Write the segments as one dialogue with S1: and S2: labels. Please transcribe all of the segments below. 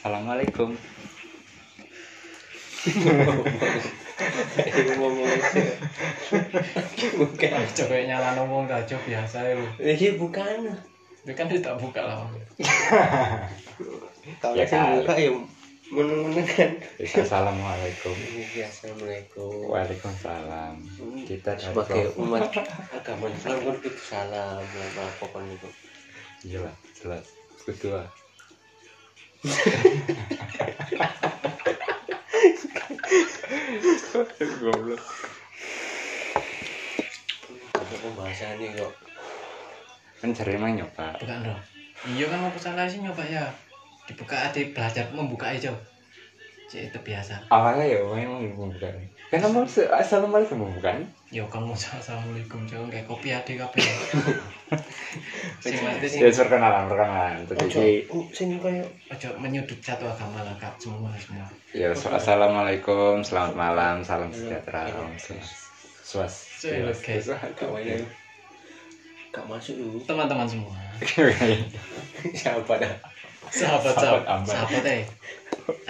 S1: Assalamualaikum.
S2: Iku ngomong aja. Bukan.
S3: Iya, Coba nyala ngomong aja biasa itu.
S2: Iki Iya, bukan.
S3: Itu kan tidak buka lah.
S2: Kalau
S1: Ya
S2: ya,
S1: kali.
S2: buka ya meneng-meneng kan.
S1: Terus Assalamualaikum.
S2: Iya, Assalamualaikum.
S1: Waalaikumsalam. Kita dari
S2: Hmm. sebagai
S1: Prof-
S2: umat agama Islam kan kudu salam melakukan itu.
S1: Iya lah, jelas. Kedua. Goblok.
S2: Ada pembahasan nih kok.
S1: Kan jare mah nyoba.
S3: Bukan dong. Iya kan mau pesan lagi nyoba ya. Dibuka aja belajar membuka aja. Cek itu biasa.
S1: Awalnya ya memang membuka. Kan kamu se- Assalamualaikum bukan?
S3: Yo Ya, kamu assalamualaikum jangan kayak kopi adik kopi. Sing mati sing
S1: Ya perkenalan, perkenalan.
S2: Ojo,
S1: Jadi
S2: oh, sing koyo
S3: ojo menyudut satu agama lah Kak. semua semua.
S1: ya so- Assalamualaikum, selamat malam, salam sejahtera.
S2: Iya.
S1: Om Swas- Swas.
S3: Iya, oke.
S2: kawannya. Gak ya. masuk lu.
S3: Teman-teman semua.
S2: Siapa dah?
S3: Sahabat
S1: Sahabat
S3: sahabat
S1: ambat.
S3: sahabat eh.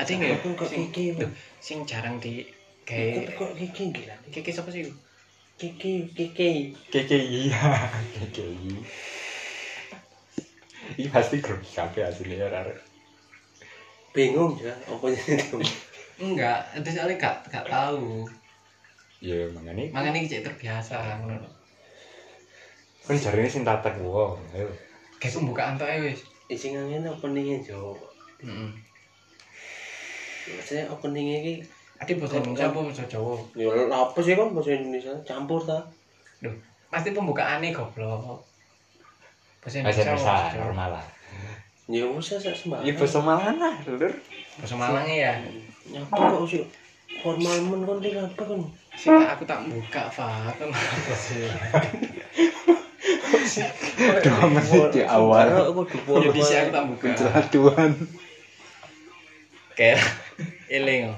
S3: Ada nggak
S2: Aku kok
S3: sing,
S2: iki.
S3: Duh, sing jarang di
S2: Aku
S3: kayak
S2: kok iki gila.
S3: Kiki siapa sih?
S2: Eh. Kiki, kiki.
S1: KKI KKI ini pasti grup kafe aslinya rare
S2: Bingung ya, apa itu?
S3: Enggak, itu soalnya gak, gak tahu.
S1: ya makanya
S3: Makanya cek terbiasa. ngono.
S1: kan jari ini sing tatak wow ayo
S3: Kayak pembukaan tuh wis.
S2: Isi ngangin openingnya Jo.
S3: Heeh.
S2: Maksudnya openingnya ini
S3: Ati bahasa Indonesia apa bahasa Jawa?
S2: Ya apa sih kan bahasa Indonesia campur ta?
S3: Pasti pembukaannya goblok. Bahasa
S1: bahasa
S3: Indonesia.
S1: Indonesia
S3: bahasa Jawa.
S1: normal lah
S2: Ya usah
S1: iya
S2: sak sembarang.
S1: bahasa Malang lah lur
S3: Bahasa Malangnya ya.
S2: Nyapa kok sih formal men kon iki apa kon?
S3: Sing tak- aku tak buka, Pak. Kenapa sih?
S1: dua menit di awal
S2: Aku
S3: Ya di sini aku tak buka.
S1: Nah. penjeladuan
S3: Kayak eling.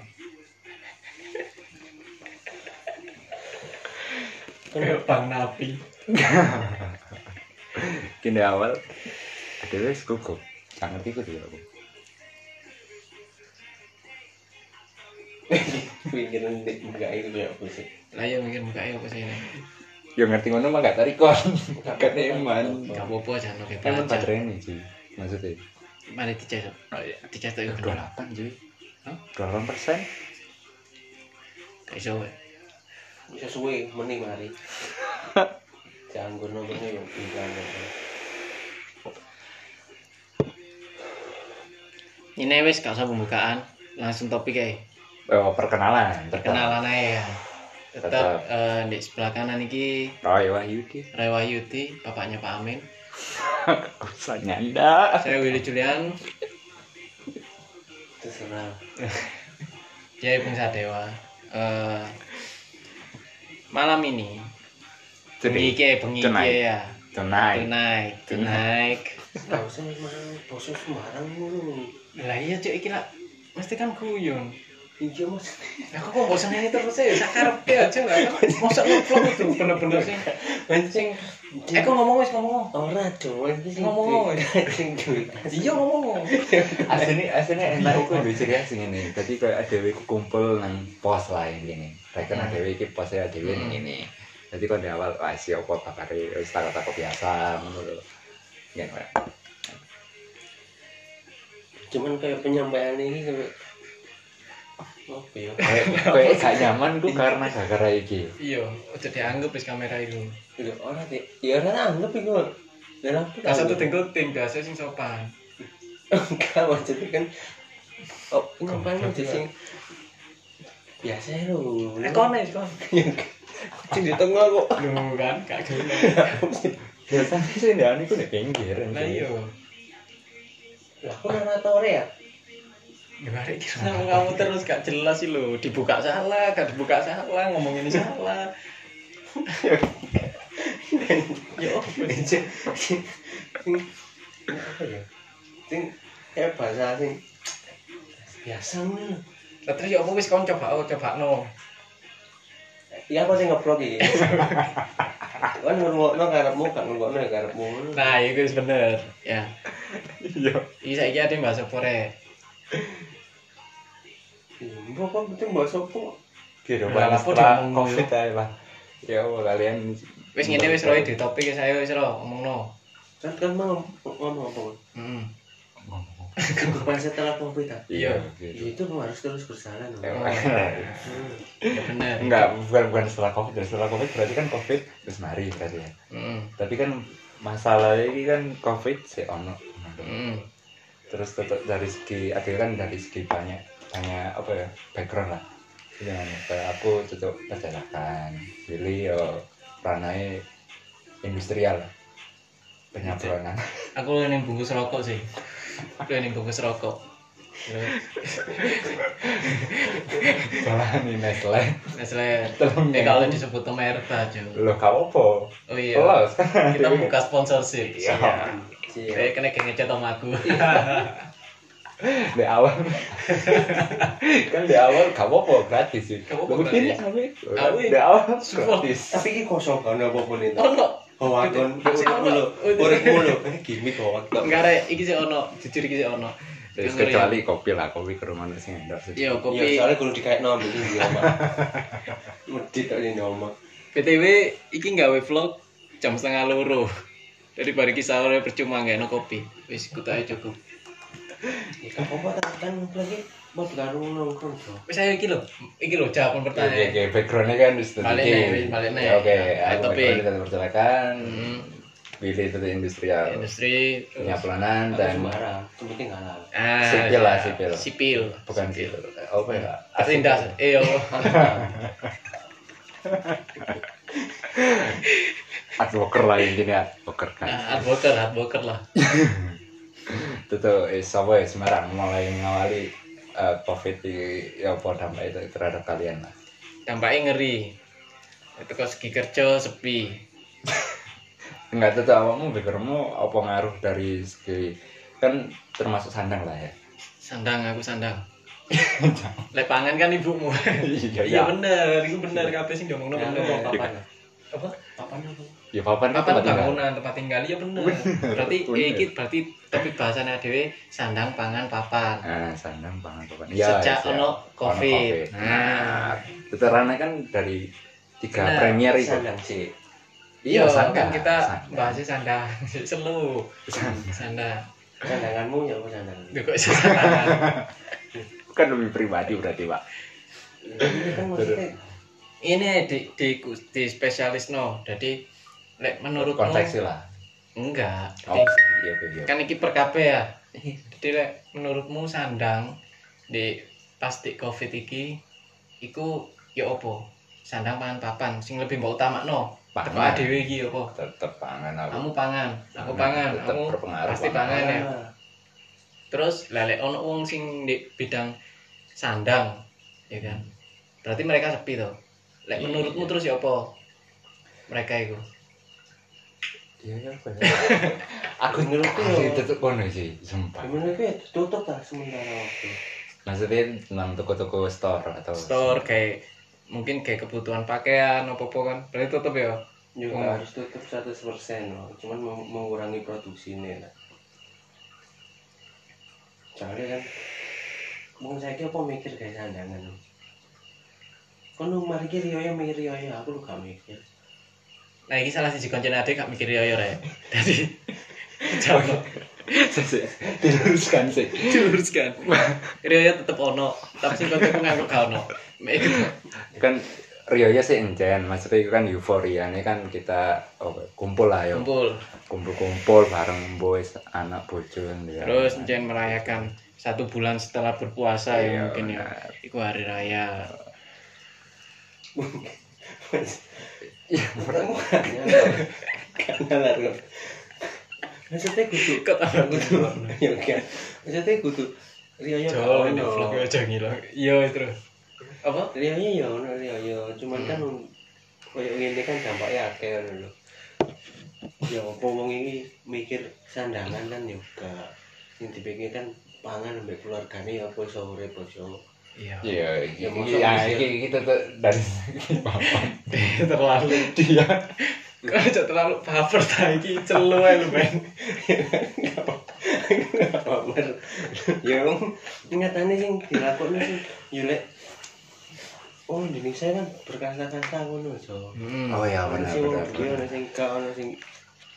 S3: Kayak Bang Napi.
S1: kini awal ada wes gugup jangan ngerti gue dulu
S2: Pikiran nek buka itu ya apa sih?
S3: Lah ya mikir bukanya apa sih ini?
S1: ya ngerti ngono mah gak tarik kon gak eman
S3: Gak apa-apa aja oke
S1: eman
S3: belajar.
S1: baterainya sih maksudnya
S3: Mari dicetak.
S1: oh iya
S3: Dicetak itu
S1: dua
S3: bener.
S1: cuy
S3: Hah?
S1: dua persen
S3: Gak iso. weh.
S2: Bisa suwe meni mari. Jangan gue nomornya yang bilang
S3: Ini wis gak usah pembukaan, langsung topik ae.
S1: Oh, perkenalan.
S3: Perkenalan ae ya.
S1: Tetap.
S3: Tetap eh, di sebelah kanan iki
S1: Roy Wahyudi.
S3: Rewayuti, bapaknya Pak Amin.
S1: Usah nyanda.
S3: Saya Willy Julian,
S2: terserah.
S3: Jaya Bungsa Dewa. Eh, malam ini bengi iki, bengi iki
S1: tonight.
S3: ya.
S1: Tonight.
S3: Tonight, tonight.
S2: Gak usah mah bosan sembarang ngono.
S3: Lah iya cuk iki lah mesti kan guyon.
S2: Iya mas.
S3: Lah kok kok bosan ini terus ya sak karepe aja lah. Mosok ngeplok itu bener-bener sing sing eh kok ngomong wis ngomong.
S2: Ora dong, ini sing
S3: Ngomong.
S2: duit- sing duit.
S3: Iya ngomong.
S1: Asli asli ah, enak iku duwe ciri khas ngene. Dadi koyo adewe iku kumpul nang pos lah yang ngene. Reken
S3: Hmm.
S1: adewe iki pose adewe ning
S3: Hmm.
S1: ngene. Dadi kon di awal wah si opo bakare wis takok-takok biasa ngono lho. Ya, Pak.
S2: Cuman kayak penyampaian ini sampai Oh, iya.
S1: Kayak kayak gak nyaman ku karena gara-gara iki.
S3: Iya, udah dianggap wis kamera iku.
S2: Ya ora deh. Ya ora anggap iku. Dan aku
S3: Gak satu ting biasa sing sopan.
S2: Enggak maksudnya kan Oh, penyampaian
S3: Goblok
S2: itu
S3: juga.
S2: sing biasa lho.
S3: nih kon.
S2: Eh, Ya, Sing di tengah kok.
S3: Lu kan gak guna.
S1: Biasane sing ndane iku nek pinggir.
S3: Lah iya.
S2: Lah aku narratore ya.
S3: Gimana kira Nah, kamu terus gak jelas sih lo dibuka salah, gak dibuka salah, ngomong ini salah. Yo,
S2: Sing sing apa ya? Sing kayak bahasa sing biasa ngono.
S3: Lah, terus yo apa wis kon coba oh coba no.
S2: Iya aku sing ngeblok iki. Kan ngurungokno karepmu gak ngurungokno ya karepmu.
S3: Nah, itu wis iya, bener. Ya,
S1: Iya.
S3: iki saiki ada yang bahasa pore.
S2: Mbok kok penting mbok sopo?
S1: Biar
S2: Lah,
S1: apa
S2: apa
S1: setelah
S2: diomong
S1: covid aja lah. Ya Allah kalian.
S3: Wis ngene wis roe di topik ya saya wis ro ngomongno.
S2: Kan kan mau ngomong apa?
S3: Heeh.
S2: Kehidupan setelah pemerintah.
S1: Iya. gitu.
S2: Itu harus terus berjalan.
S1: Ya,
S2: Om.
S1: makanya.
S2: Hmm.
S3: Ya bener.
S1: Enggak, bukan bukan setelah covid. Setelah covid berarti kan covid terus mari berarti ya.
S3: Heeh.
S1: Tapi kan masalahnya ini kan covid sih ono.
S3: Heeh.
S1: Terus tetap dari segi ada kan dari segi banyak banyak apa ya background lah. Jangan kayak aku cocok perjalanan, pilih yo ranai industrial lah. Penyaburan
S3: Aku lu ning bungkus rokok sih. Lu ning bungkus rokok.
S1: Jalan ini Nestle.
S3: Nestle.
S1: Tolong
S3: Ya kalau disebut merek aja.
S1: Loh, kau apa?
S3: Oh iya.
S1: Los.
S3: Kita buka sponsorship.
S1: Iya.
S4: Iya.
S3: Eh kena geng ngecat sama aku.
S1: Di awal. kan di awal kamu apa gratis sih?
S3: Gak apa-apa
S1: Bagus ini
S3: gratis.
S1: awe.
S3: Awe.
S1: Di awal
S3: Support.
S1: gratis.
S2: Tapi ini kosong kan apa pun itu.
S3: Ono.
S2: Hoak kan uripmu lho, uripmu lho. Eh, gimmick hoak.
S3: Enggak rek, iki sih ono, jujur iki sih ono.
S1: Terus kecuali kopi lah, kopi ke rumah nasi endorse. sih.
S2: Iya,
S3: Iya, kopi.
S2: soalnya kudu dikaitno ambek iki omah. Medit tok ini omah.
S3: BTW, iki nggawe vlog jam setengah loro. Dari bari kisah oleh percuma nggak no kopi. Wis kutu aja cukup.
S2: Ya gak apa-apa tak kan lagi mau baru nongkrong bro.
S3: Wis ayo iki lho, iki lho jawaban
S1: Oke, oke,
S3: pertanyaan.
S1: oke. backgroundnya kan terus
S3: Balik nih, wis balik nih.
S1: Oke,
S3: Ya,
S1: aku
S3: topik.
S1: backgroundnya tentang perjalanan,
S3: Hmm,
S1: pilih tentang industrial,
S3: Industri terus-
S1: penyapuran dan
S2: Sembarang, yang penting halal.
S3: ah,
S1: Sipil lah,
S3: ya.
S1: sipil.
S3: Sipil.
S1: bukan gitu. Apa ya?
S3: Tertindas. Eh yo.
S1: Adwoker lah intinya, adwoker kan.
S3: Nah, advoker, advoker lah.
S1: Tentu, eh, sama ya Semarang mulai mengawali eh, COVID di ya, apa dampak itu terhadap kalian lah.
S3: Dampaknya ngeri. Itu kok segi kerja sepi.
S1: Enggak tentu awakmu pikirmu apa ngaruh dari segi kan termasuk sandang lah ya.
S3: Sandang aku sandang. Lek pangan kan ibumu.
S1: Iya
S3: Iya bener, itu bener kabeh sing diomongno
S2: Ya, lu mau
S3: bener.
S2: papan.
S3: Apa?
S2: Papan apa?
S1: Ya papan kan
S3: apa
S1: tempat tinggal.
S3: bangunan tempat tinggal ya bener berarti
S1: bener.
S3: eh, iki berarti topik bahasannya dhewe sandang pangan papan
S1: Nah, sandang pangan papan. Iya,
S3: sejak
S1: siap.
S3: ono covid
S1: Covid.
S3: nah
S1: Itu ranah kan dari tiga
S3: Nah,
S1: premier itu.
S2: Sandang sih.
S3: iya
S1: sandang.
S3: kan kita
S1: Sandang.
S3: bahasnya sandang selu
S1: Sandang.
S3: sandang
S2: Sandanganmu ya aku sandang.
S3: Duh, kok iso sandang
S1: Kan lebih pribadi berarti, Pak.
S2: Ini kan maksudnya
S3: ini di di, di spesialis no jadi lek menurut
S1: Konteksnya lah.
S3: enggak
S1: Oh,
S3: Jadi,
S1: iya, iya, iya.
S3: kan iki per KB ya jadi lek menurutmu sandang di pasti covid iki iku ya opo sandang pangan papan sing lebih mbok utamakno teko
S1: Pangan.
S3: dhewe iki opo
S1: Tetep pangan aku.
S3: kamu pangan aku
S1: Pangan.
S3: pangan
S1: Tetep
S3: aku
S1: berpengaruh
S3: pasti
S1: pangan.
S3: pangan ya
S2: Ah.
S3: terus lelek ono wong sing di bidang sandang ya kan berarti mereka sepi to lek
S1: Iya,
S3: menurutmu
S1: iya.
S3: terus ya opo mereka iku
S1: Iya, iya, apa ya? Aku
S2: Menurutku ya.
S1: Asli tetep kono sih, sumpah.
S2: Gimana ya tutup lah sementara waktu.
S1: Maksudnya tentang toko-toko store atau
S3: store kayak mungkin kayak kebutuhan pakaian opo-opo kan berarti tetep ya
S2: Juga
S3: Oh.
S2: harus tutup 100% loh. Cuman mem- mengurangi produksinya lah. Soalnya kan Mungkin saya apa mikir kayak sandangan Kan lu mari ki riyoyo mikir riyoyo aku lu gak mikir.
S3: Nah, ini salah siji koncene adek gak mikir yoyo rek. Dadi jawab
S1: Sih, diluruskan sih.
S3: diluruskan. Yoyo tetep ono, tapi sing koncene nganggo gak ono. Mek iku
S1: Kan Rio ya sih enjen, maksudnya itu kan euforia ini kan kita oh, kumpul lah ya,
S3: kumpul.
S1: kumpul-kumpul bareng boys, anak bojo ya.
S3: Terus njen merayakan satu bulan setelah berpuasa
S1: Iya,
S3: ya mungkin ya.
S1: benar.
S3: Iku hari raya.
S1: Iya,
S2: Pertemu Karena lah. Maksudnya kudu
S3: Kok tambah
S2: kudu. Ya kan. Maksudnya kudu riyoyo gak
S3: Jol ini
S2: Iya, ono.
S3: vlog aja ngilang. Iya, terus. Apa?
S2: Riyoyo ya ono riyoyo, cuman kan koyo ngene kan dampaknya akeh ngono lho. Ya apa wong iki mikir sandangan kan juga. Sing dipikirkan pangan ambek keluargane ya apa iso urip iso.
S3: Iya.
S1: Iya, iya,
S2: Ya, masa
S1: iya,
S2: manusia-
S1: iya, kita tuh dari segi papan
S3: Terlalu
S1: dia.
S3: kok aja terlalu baper ta iki celu ae lu, Ben.
S2: Omer. Ya wong nyatane sing dilakoni sing yo lek Oh, Indonesia kan berkasta-kasta ngono so.
S3: Hmm.
S1: oh ya
S2: Ono
S1: benar
S2: sing wong
S1: benar
S2: duwe, ono
S1: benar.
S2: sing gak, ono sing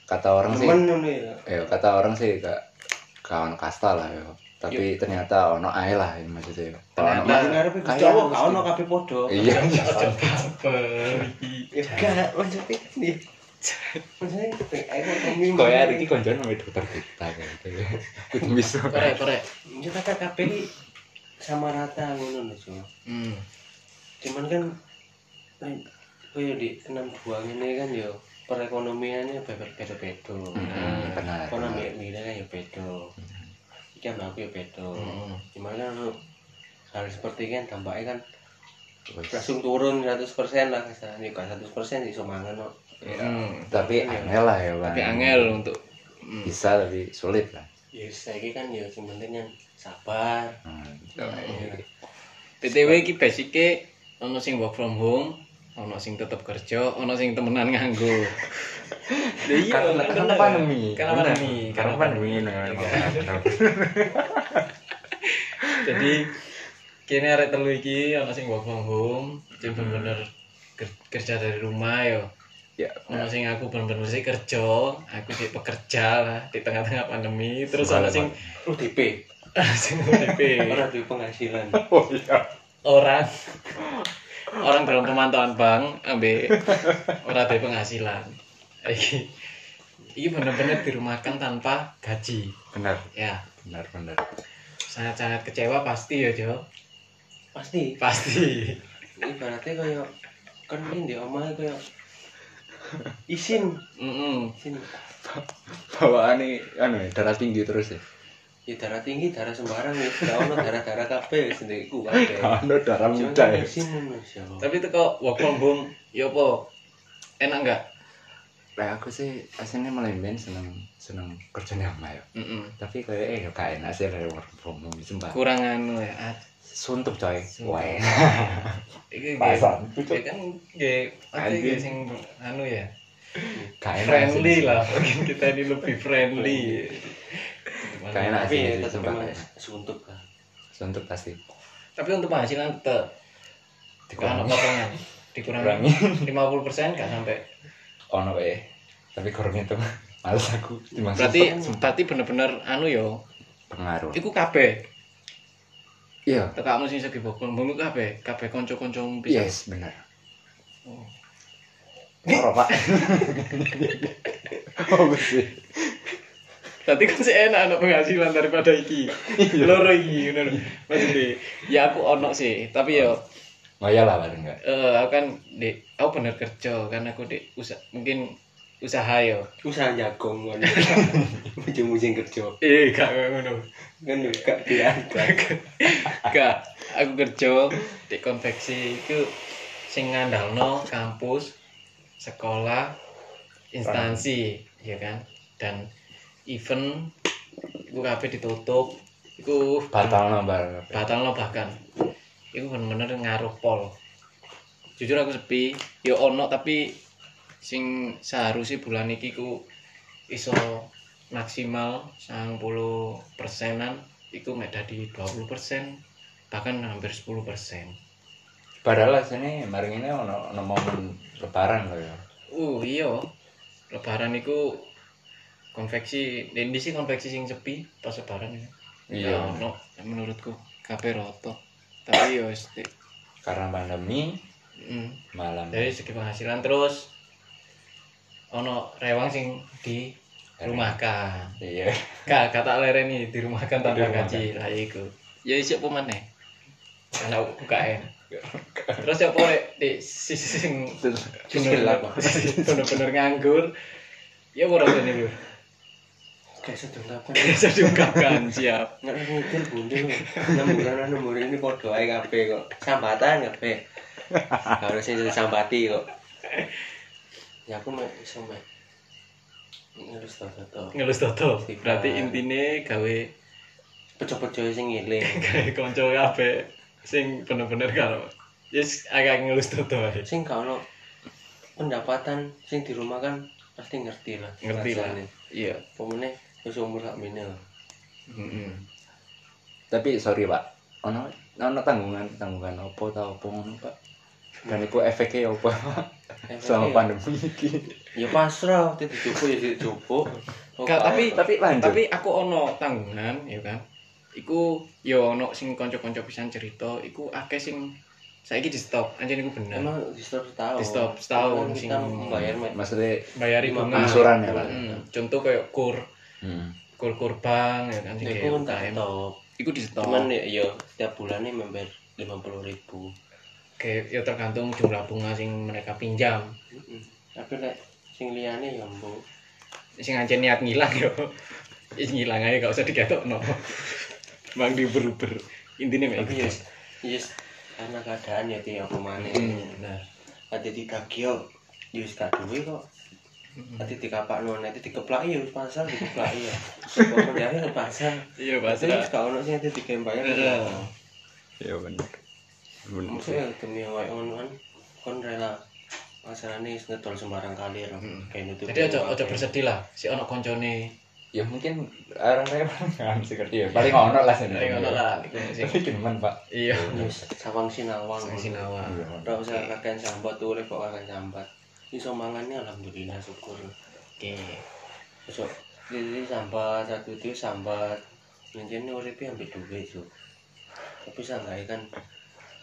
S1: kata orang sih
S2: temen ngono ya.
S1: ya kata orang sih gak kawan kasta lah ya tapi ternyata ono ae lah ya, maksudnya Kalau ono
S3: Ternyata.
S2: Nah, ngarepe
S1: Kaya
S2: Jawa gak
S1: mesti.
S2: ono kabeh padha.
S1: mah- iya
S3: Ojo baper.
S2: Ya gak maksudnya ini. Maksudnya aku ngomong
S1: Kaya hari ini konjoan sama dokter kita kayak gitu ya. Kudu bisa.
S3: Korek, korek.
S2: Ya kakak kabeh iki sama rata ngono lho so.
S3: Hmm.
S2: cuman kan eh, koyo di enam dua ini kan yo perekonomiannya bebek beda beda
S1: Hmm, benar. benar.
S2: karena mbak Mira kan yo beda iki mbak aku yo beda
S3: Hmm.
S2: cuman kan lu hal seperti kan tampaknya kan
S1: Wes.
S2: langsung turun 100% lah kesannya gak 100% persen iso mangan no.
S3: Hmm.
S1: Tapi angel lah ya bang.
S3: Tapi angel untuk Hmm.
S1: Bisa tapi sulit lah.
S2: ya saiki kan yo sing penting kan sabar
S1: Hmm.
S3: PTW iki basike ono sing work from home, ono sing tetep kerja, ono sing temenan nganggur. Lho iya,
S1: Karena
S3: kan
S1: karena
S3: bener.
S1: pandemi.
S3: Karena pandemi,
S1: Karena pandemi.
S3: Iya. Jadi kene arek telu iki ono sing work from home, sing bener-bener ker- kerja dari rumah yo.
S1: Ya.
S3: Ono sing aku bener-bener sih kerja, aku sih pekerja lah di tengah-tengah pandemi, terus ono sing
S2: UDP
S3: sing ODP.
S2: orang duwe penghasilan
S1: Oh iya.
S3: orang orang dalam pemantauan bang ambil orang dari penghasilan iki iki bener-bener dirumahkan tanpa gaji
S1: Benar,
S3: ya
S1: benar, benar.
S3: sangat-sangat kecewa pasti ya Jo
S2: pasti
S3: pasti
S2: ibaratnya kaya kan ini di omah kaya isin
S3: Mm-mm.
S2: isin
S1: Bawaan ini anu ya, darah tinggi terus ya.
S2: ya darah tinggi darah sembarang ya gak ono darah darah kabeh sendiriku kabeh
S1: Anu darah
S2: Cuman
S1: muda
S2: kan
S1: ya.
S2: isin ngono siapa
S3: tapi itu kok work from home ya apa enak nggak
S1: kan, Lah aku sih aslinya melemben seneng seneng kerja di rumah ya.
S3: Mm-mm.
S1: Tapi kayak eh gak enak sih dari work from home sumpah.
S3: kurang anu ya ah,
S1: Suntuk coy.
S3: Suntuk.
S1: Wah.
S3: iki
S1: Pasar.
S3: ya kan ge pasti ge
S1: Anjing.
S3: sing anu ya
S1: Gak enak sih.
S3: friendly lah mungkin kita ini lebih friendly
S1: Gak enak
S2: tapi
S1: sih.
S2: ya
S1: sih,
S2: tetep
S1: Sumpah
S2: emang
S1: gak enak.
S2: suntuk kan
S1: Suntuk pasti.
S3: tapi untuk penghasilan tetap Kan
S1: Dikurangi.
S3: potongan dikurangi 50 persen gak sampai
S1: Ono eh. Tapi kurang itu males aku dimasuk.
S3: berarti berarti bener-bener anu yo
S1: pengaruh.
S3: iku kabeh
S1: Iya.
S3: tekakmu sing segi bokong bumbu kabeh kabeh kanca-kancamu pisan
S1: Yes, benar.
S3: Oh.
S1: Parah, Pak. oh, bersih.
S3: berarti kan sih enak anak penghasilan daripada iki loro iki ngono lho. maksudnya ya aku ono sih tapi yo
S1: Oh, iya lah, bareng enggak.
S3: eh, aku kan di aku bener kerja kan aku di usaha mungkin usaha yo
S2: usaha jagung kan ujung ujung kerja
S3: eh gak ngono
S2: kan yo gak diangkat
S3: Gak, aku kerja di konveksi itu sing ngandalno kampus, sekolah, instansi, ya kan? Dan event iku kabeh ditutup, iku
S1: Batal nomor.
S3: batalno bahkan. Iku bener-bener ngaruh pol. Jujur aku sepi, yo ono tapi sing seharusnya bulan iki ku iso maksimal 90 persenan iku mek dadi 20 persen bahkan hampir 10 persen
S1: Padahal sini bareng ini ono ono momen lebaran loh ya.
S3: uh iya lebaran iku konveksi ini sih konveksi sing sepi pas lebaran ya
S1: Iya.
S3: Ya, ono menurutku kabeh roto tapi yo wis di-
S1: Karena pandemi
S3: mm.
S1: malam
S3: dari segi penghasilan terus ono rewang sing di rumahkan
S1: Iya.
S3: Kak, kata lereni dirumahkan tanpa
S1: Dirumahkan.
S3: gaji lah iku. Ya isuk apa meneh? Karena UKM. Terus siapa rek di sisi sing
S2: Sisi
S3: bener-
S2: apa?
S3: sisi bener-bener nganggur. Ya ora rasane lho.
S2: kayak sedang apa
S3: Bisa diungkapkan siap.
S2: nggak mikir buntu nemburan nemburan ini podo ae kabeh kok sambatan kabeh harusnya jadi sambati kok ya aku mau iso mek ngelus tau tau
S3: Ngelus toto. Berarti intine gawe
S2: pecah-pecah sing ngiling
S3: gawe kanca kabeh sing bener-bener karo. Yes, agak ngelus toto ae.
S2: sing kalau pendapatan sing di rumah kan pasti ngerti lah
S3: Ngerti lah.
S2: rasane.
S3: Iya.
S2: pemene wis umur sak mene lah
S3: Heeh.
S1: Tapi sorry Pak, ono ono tanggungan tanggungan opo tau opo ngono Pak. Dan itu efeknya apa selama pandemi ini?
S2: Ya pasrah, tidak dicupuk ya dicupuk.
S3: Enggak, tapi
S1: Tapi lanjut.
S3: tapi aku ono tanggungan ya kan iku yo ono sing kanca-kanca pisan cerita iku akeh sing saiki di stop anjen iku bener
S2: Emang di stop setahun.
S3: di stop setahun
S2: Kan
S3: sing
S2: kita membayar Mak.
S1: maksudnya
S3: bayari
S2: lima
S3: bunga
S1: angsuran ya Pak.
S3: Hmm, contoh kayak kur
S1: Hmm.
S3: kur kur bank ya kan sing
S2: Ya,
S3: kayak
S2: aku kan tak
S3: UKM.
S2: tahu.
S3: iku di stop
S2: Cuman ya, ya setiap bulannya membayar lima puluh ribu.
S3: kayak ya tergantung jumlah bunga sing mereka pinjam
S2: Tapi lek sing liyane ya mbok.
S3: sing anjen niat ngilang yo Ih, ngilang aja gak usah diketokno bang di beruber intinya kayak
S2: Tapi
S3: gitu
S2: ya, yes, karena keadaan ya tiap aku mana.
S3: Hmm, nah
S2: Ada di kagio, yus kak duwe kok. Nanti dikapak no, nanti dikeplak ya, pasang dikeplak ya. Kok menjari pasang.
S3: iya
S2: Pasti
S3: pasrah
S2: kak ono sing nanti dikembayar.
S3: Heeh.
S1: Ya benar. Benar.
S2: Maksudnya demi awake ono kan kon rela masalahnya ngedol sembarang kali ya.
S3: Hmm.
S2: Kayak nutup.
S3: jadi aja aja bersedih lah si ono koncone
S1: Ya mungkin orang-orang kan sih ngerti ya. Paling ono lah sih.
S3: Paling ono lah.
S1: Tapi gimana Pak?
S3: iya
S2: Yes, sawang sinawang.
S3: sing sinawa
S2: Ora usah kakean sambat tuh kok kakean sambat. Iso mangane alhamdulillah syukur.
S3: oke
S2: Besok jadi sambat satu itu sambat. Njenjene uripe ambek duit lho. Tapi sanggae kan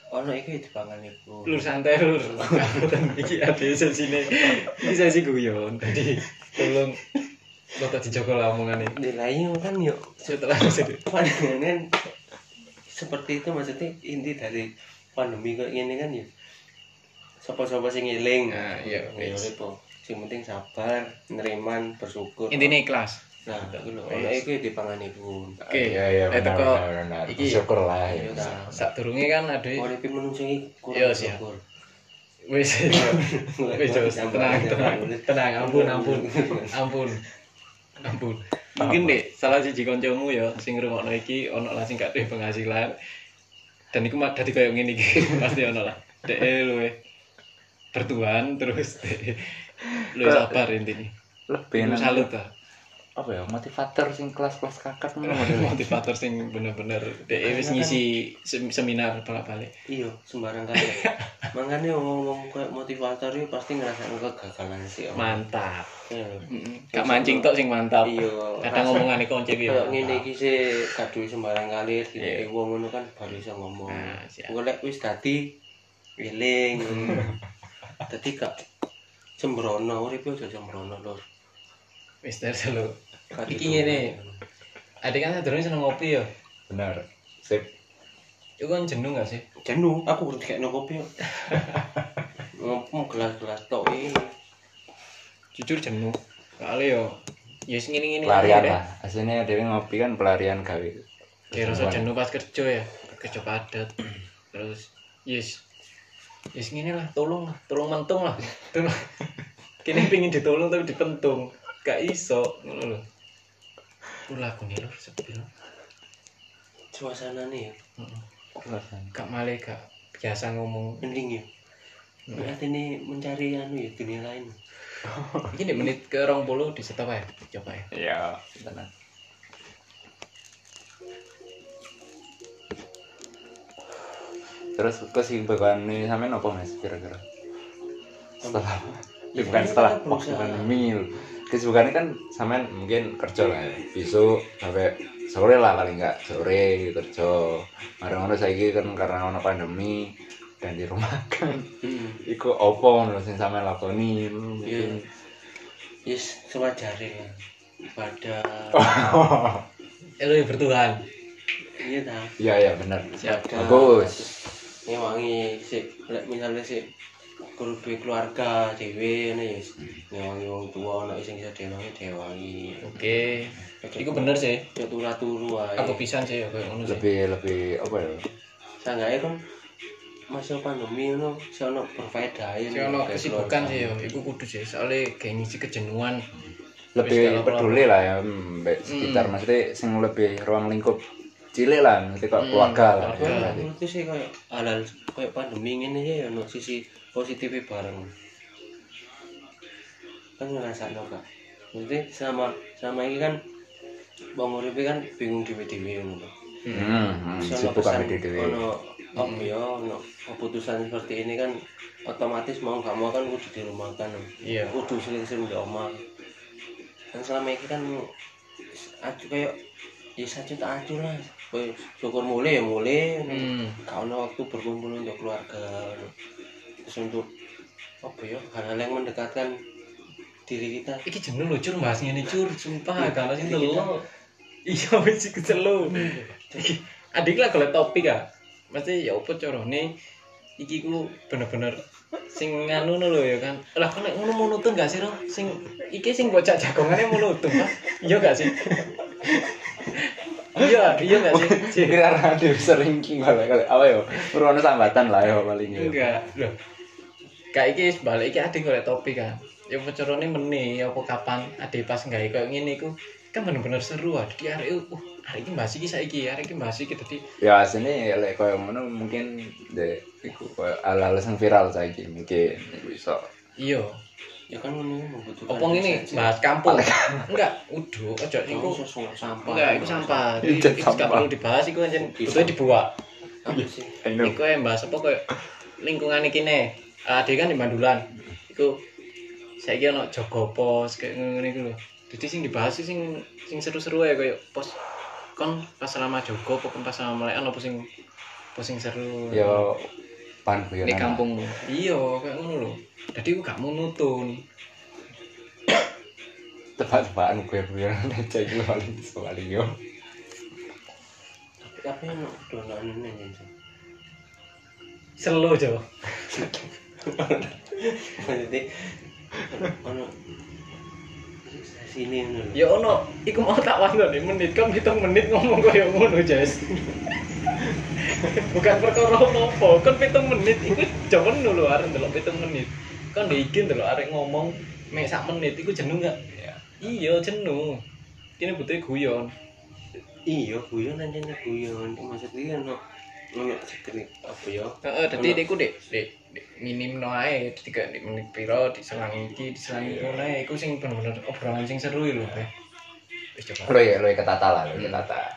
S2: ono iki dipangan iku.
S3: lur santai lur Kabutan iki ada sesine iki sesi guyon tadi tolong lo tak dijogo lah omongane
S2: Nilainya kan yuk
S3: setelah itu
S2: pandangan seperti itu maksudnya inti dari pandemi kok ini kan ya sapa-sapa sing eling
S3: Nah, iya,
S2: ya
S3: wis.
S2: apa oh. sing penting sabar neriman bersyukur
S3: intinya ikhlas
S2: nah itu lho
S3: Wis.
S2: ono iku dipangani pun
S3: Oke.
S1: Ya ya
S3: Eh,
S1: benar
S3: teko
S1: benar. benar.
S3: iki.
S1: Syukur lah ya.
S2: Iya, nah.
S3: saat turunnya kan ada
S2: Uripe menungsungi kurang
S3: Iya, siap.
S2: syukur.
S3: wis wis Jos. tenang tenang tenang ampun ampun ampun ampun mungkin deh salah siji koncomu ya sing ngrungokno iki ono lah sing gak duwe penghasilan dan iku mah dadi koyo ngene iki pasti ono lah eh, dek luwe bertuhan terus dek luwe sabar intine
S1: Lebih
S2: eh,
S3: ben
S1: enak.
S3: salut ta
S1: Apa ya motivator sing kelas-kelas kakap ngono modelnya.
S3: motivator sing bener-bener dek wis ngisi sem- seminar bolak-balik
S2: iya sembarang kali makanya ngomong kayak motivator itu pasti ngerasa kegagalan sih Om.
S3: mantap
S2: Iya lho.
S3: Mm-mm. gak mancing tok sing mantap
S2: iya rasa-
S3: kadang ngomongane konco iki
S2: Kayak
S3: ya
S2: ngene iki sih gak duwe sembarang kalir
S3: Iya.
S2: dikeki wong ngono kan baru iso ngomong.
S3: Nah, siap.
S2: Engko lek wis dadi eling. Dadi gak sembrono uripe aja sembrono lur.
S3: mister selalu
S2: Gak
S3: Iki
S2: ditu-
S3: ngene. adik kan sadurunge seneng ngopi ya
S1: Benar. Sip.
S3: Iku kan jenuh gak sih?
S2: Jenuh, aku kurang dikekno kopi. kok. Ngomong gelas-gelas tok iki.
S3: Jujur jenuh. Soalnya yo ya sing ngene-ngene
S1: Pelarian
S3: aja deh.
S1: lah. Aslinya dia ngopi kan pelarian gawe.
S3: Ya rasa jenuh pas kerja ya, kerja padat. Terus ya yes. Yes ngene lah, tolong lah, tolong mentung lah. Tolong. Kini pingin ditolong tapi dipentung. Gak iso, ngono lho. Ku lagu nih lho, sepi lho.
S2: Suasanane ya
S3: Heeh.
S1: Pelarian.
S3: Gak malah gak biasa ngomong.
S2: mending ya. Berarti ini mencari anu ya dunia lain.
S3: Iki nek menit ke 20 di stop ya, coba ya.
S1: Ya, benar. Terus kesibukan ini sampean apa Mas kira-kira? Setelah ya, bukan setelah
S2: kita
S1: waktu
S2: berusaha.
S1: pandemi. Kesibukannya kan sampean mungkin kerja lah ya. Besok sampai sore lah paling enggak sore kerja. Marang-marang saiki kan karena ono pandemi dan di rumah kan iku opo ngono sing sampean lakoni mungkin.
S2: Yes, sewajare lah. Ibadah.
S3: Eh lu ya bertuhan.
S2: Iya ta.
S1: Iya iya benar.
S3: Siap.
S1: Bagus.
S2: ini wangi sih lek misalnya sih kudu duwe keluarga dhewe ngene ya ngewangi wong tua ana sing iso dhewangi dhewangi
S3: Oke. Iku bener sih.
S2: ya turu turu ae
S3: Aku pisan sih ya koyo ngono sih.
S1: lebih lebih apa ya
S2: sanggae kan masih pandemi ngono sih ono berfaedah ya
S3: Sing ono kesibukan sih ya, iku kudu sih soalnya kayak ngisi kejenuhan. Wis
S1: lebih
S3: dalam
S1: peduli lah ya mbak sekitar
S3: Hmm.
S1: maksudnya sing lebih ruang lingkup cilik lah maksudnya kok
S3: Hmm,
S1: keluarga lah ya,
S3: keluarga.
S1: berarti.
S2: itu sih kayak halal kayak pandemi ngene ya ono sisi positifnya bareng kan ngerasa no kak maksudnya sama sama ini kan wong uripe kan bingung dhewe-dhewe ngono.
S1: Hmm,
S2: Terus ono
S1: sibuk
S2: pesan,
S1: ambil dhewe.
S2: Ono om ya ono keputusan seperti ini kan otomatis mau nggak mau kan kudu dirumahkan.
S3: Iya.
S2: Kudu sering-sering di omah. Dan selama ini kan acu kayak ya saja tak acu lah. Kayak syukur mulai ya mulai.
S3: Hmm.
S2: Kau ono waktu berkumpul untuk keluarga. ono. Terus untuk apa ya hal-hal yang mendekatkan diri kita
S3: Iki jeneng lho cur bahas ngene cur, sumpah
S2: Iya,
S3: kalau sing
S2: jadi kita-
S3: telu. Iya wis iku telu. Iki adik lah golek topik ah. Mesti ya opo carane iki ku bener-bener sing nganu ngono lho ya kan. Lah kok nek ngono monoton gak sih Ro? Sing iki sing bocah jagongane monoton, Mas. Iya gak sih? Iya, iya gak sih? Cik.
S1: Kira radio sering kembali kali. Apa yo? Merupakan sambatan lah yo paling yo.
S3: enggak loh kayak iki balik iki ade golek topik kan ya pecorone meni apa kapan ade pas gawe koyo ngene iku kan bener-bener seru ah dadi arek uh arek iki mbahas iki saiki arek iki mbahas iki dadi
S1: Ya aslinya lek koyo ngono mungkin de iku koyo ala-ala sing viral saiki mungkin iku iso.
S3: iya
S2: ya kan ngono membutuhkan
S3: apa ngene
S2: saja.
S3: bahas kampung enggak udah ojo iku
S2: Kamu sosok sampah
S3: enggak iku sampah
S1: Iya,
S3: iku gak
S1: sampah.
S3: perlu dibahas iku anjen butuhe dibuat
S2: apa sih
S1: Ayo.
S3: Iku yang bahas apa koyo lingkungan iki ne. Ade kan di Bandulan. Iku saiki ono Jogo Pos kayak ngene iku lho. Dadi sing dibahas sih sing sing seru-seru ya koyo pos kon pas lama Jogo apa kon pas lama Melekan apa sing pos sing seru.
S1: Yo pan guyonan.
S3: di kampungmu. Iya, kayak ngono lho. Dadi aku gak mau nutun.
S1: tebak-tebakan guyon-guyonan aja iku lho paling iso paling yo.
S2: tapi yang donan ini aja
S3: Selo, Jo.
S2: maksudnya ono sini ngono lho.
S3: Ya ono, iku mau tak wandone menit kon hitung menit ngomong koyo ngono, Jas. Bukan perkara opo, kon pitung menit iku jaman lho arek ndelok pitung menit. Kon ndek iki ndelok arek ngomong mek sak menit iku jenuh gak?
S1: Iya.
S3: Iya, jenuh. Kene butuh guyon.
S2: iya guyon aja nih guyon maksudnya ono ono sekerik apa ya
S3: Heeh, dadi iku Dek, Dek, Dek, minimno ae dadi gak Dek, menit piro diselangi iki, diselangi ngono ae iku sing bener-bener obrolan sing seru lho, Teh. Wis coba.
S1: Lo ya lo ya ketata lah lo ya ketata.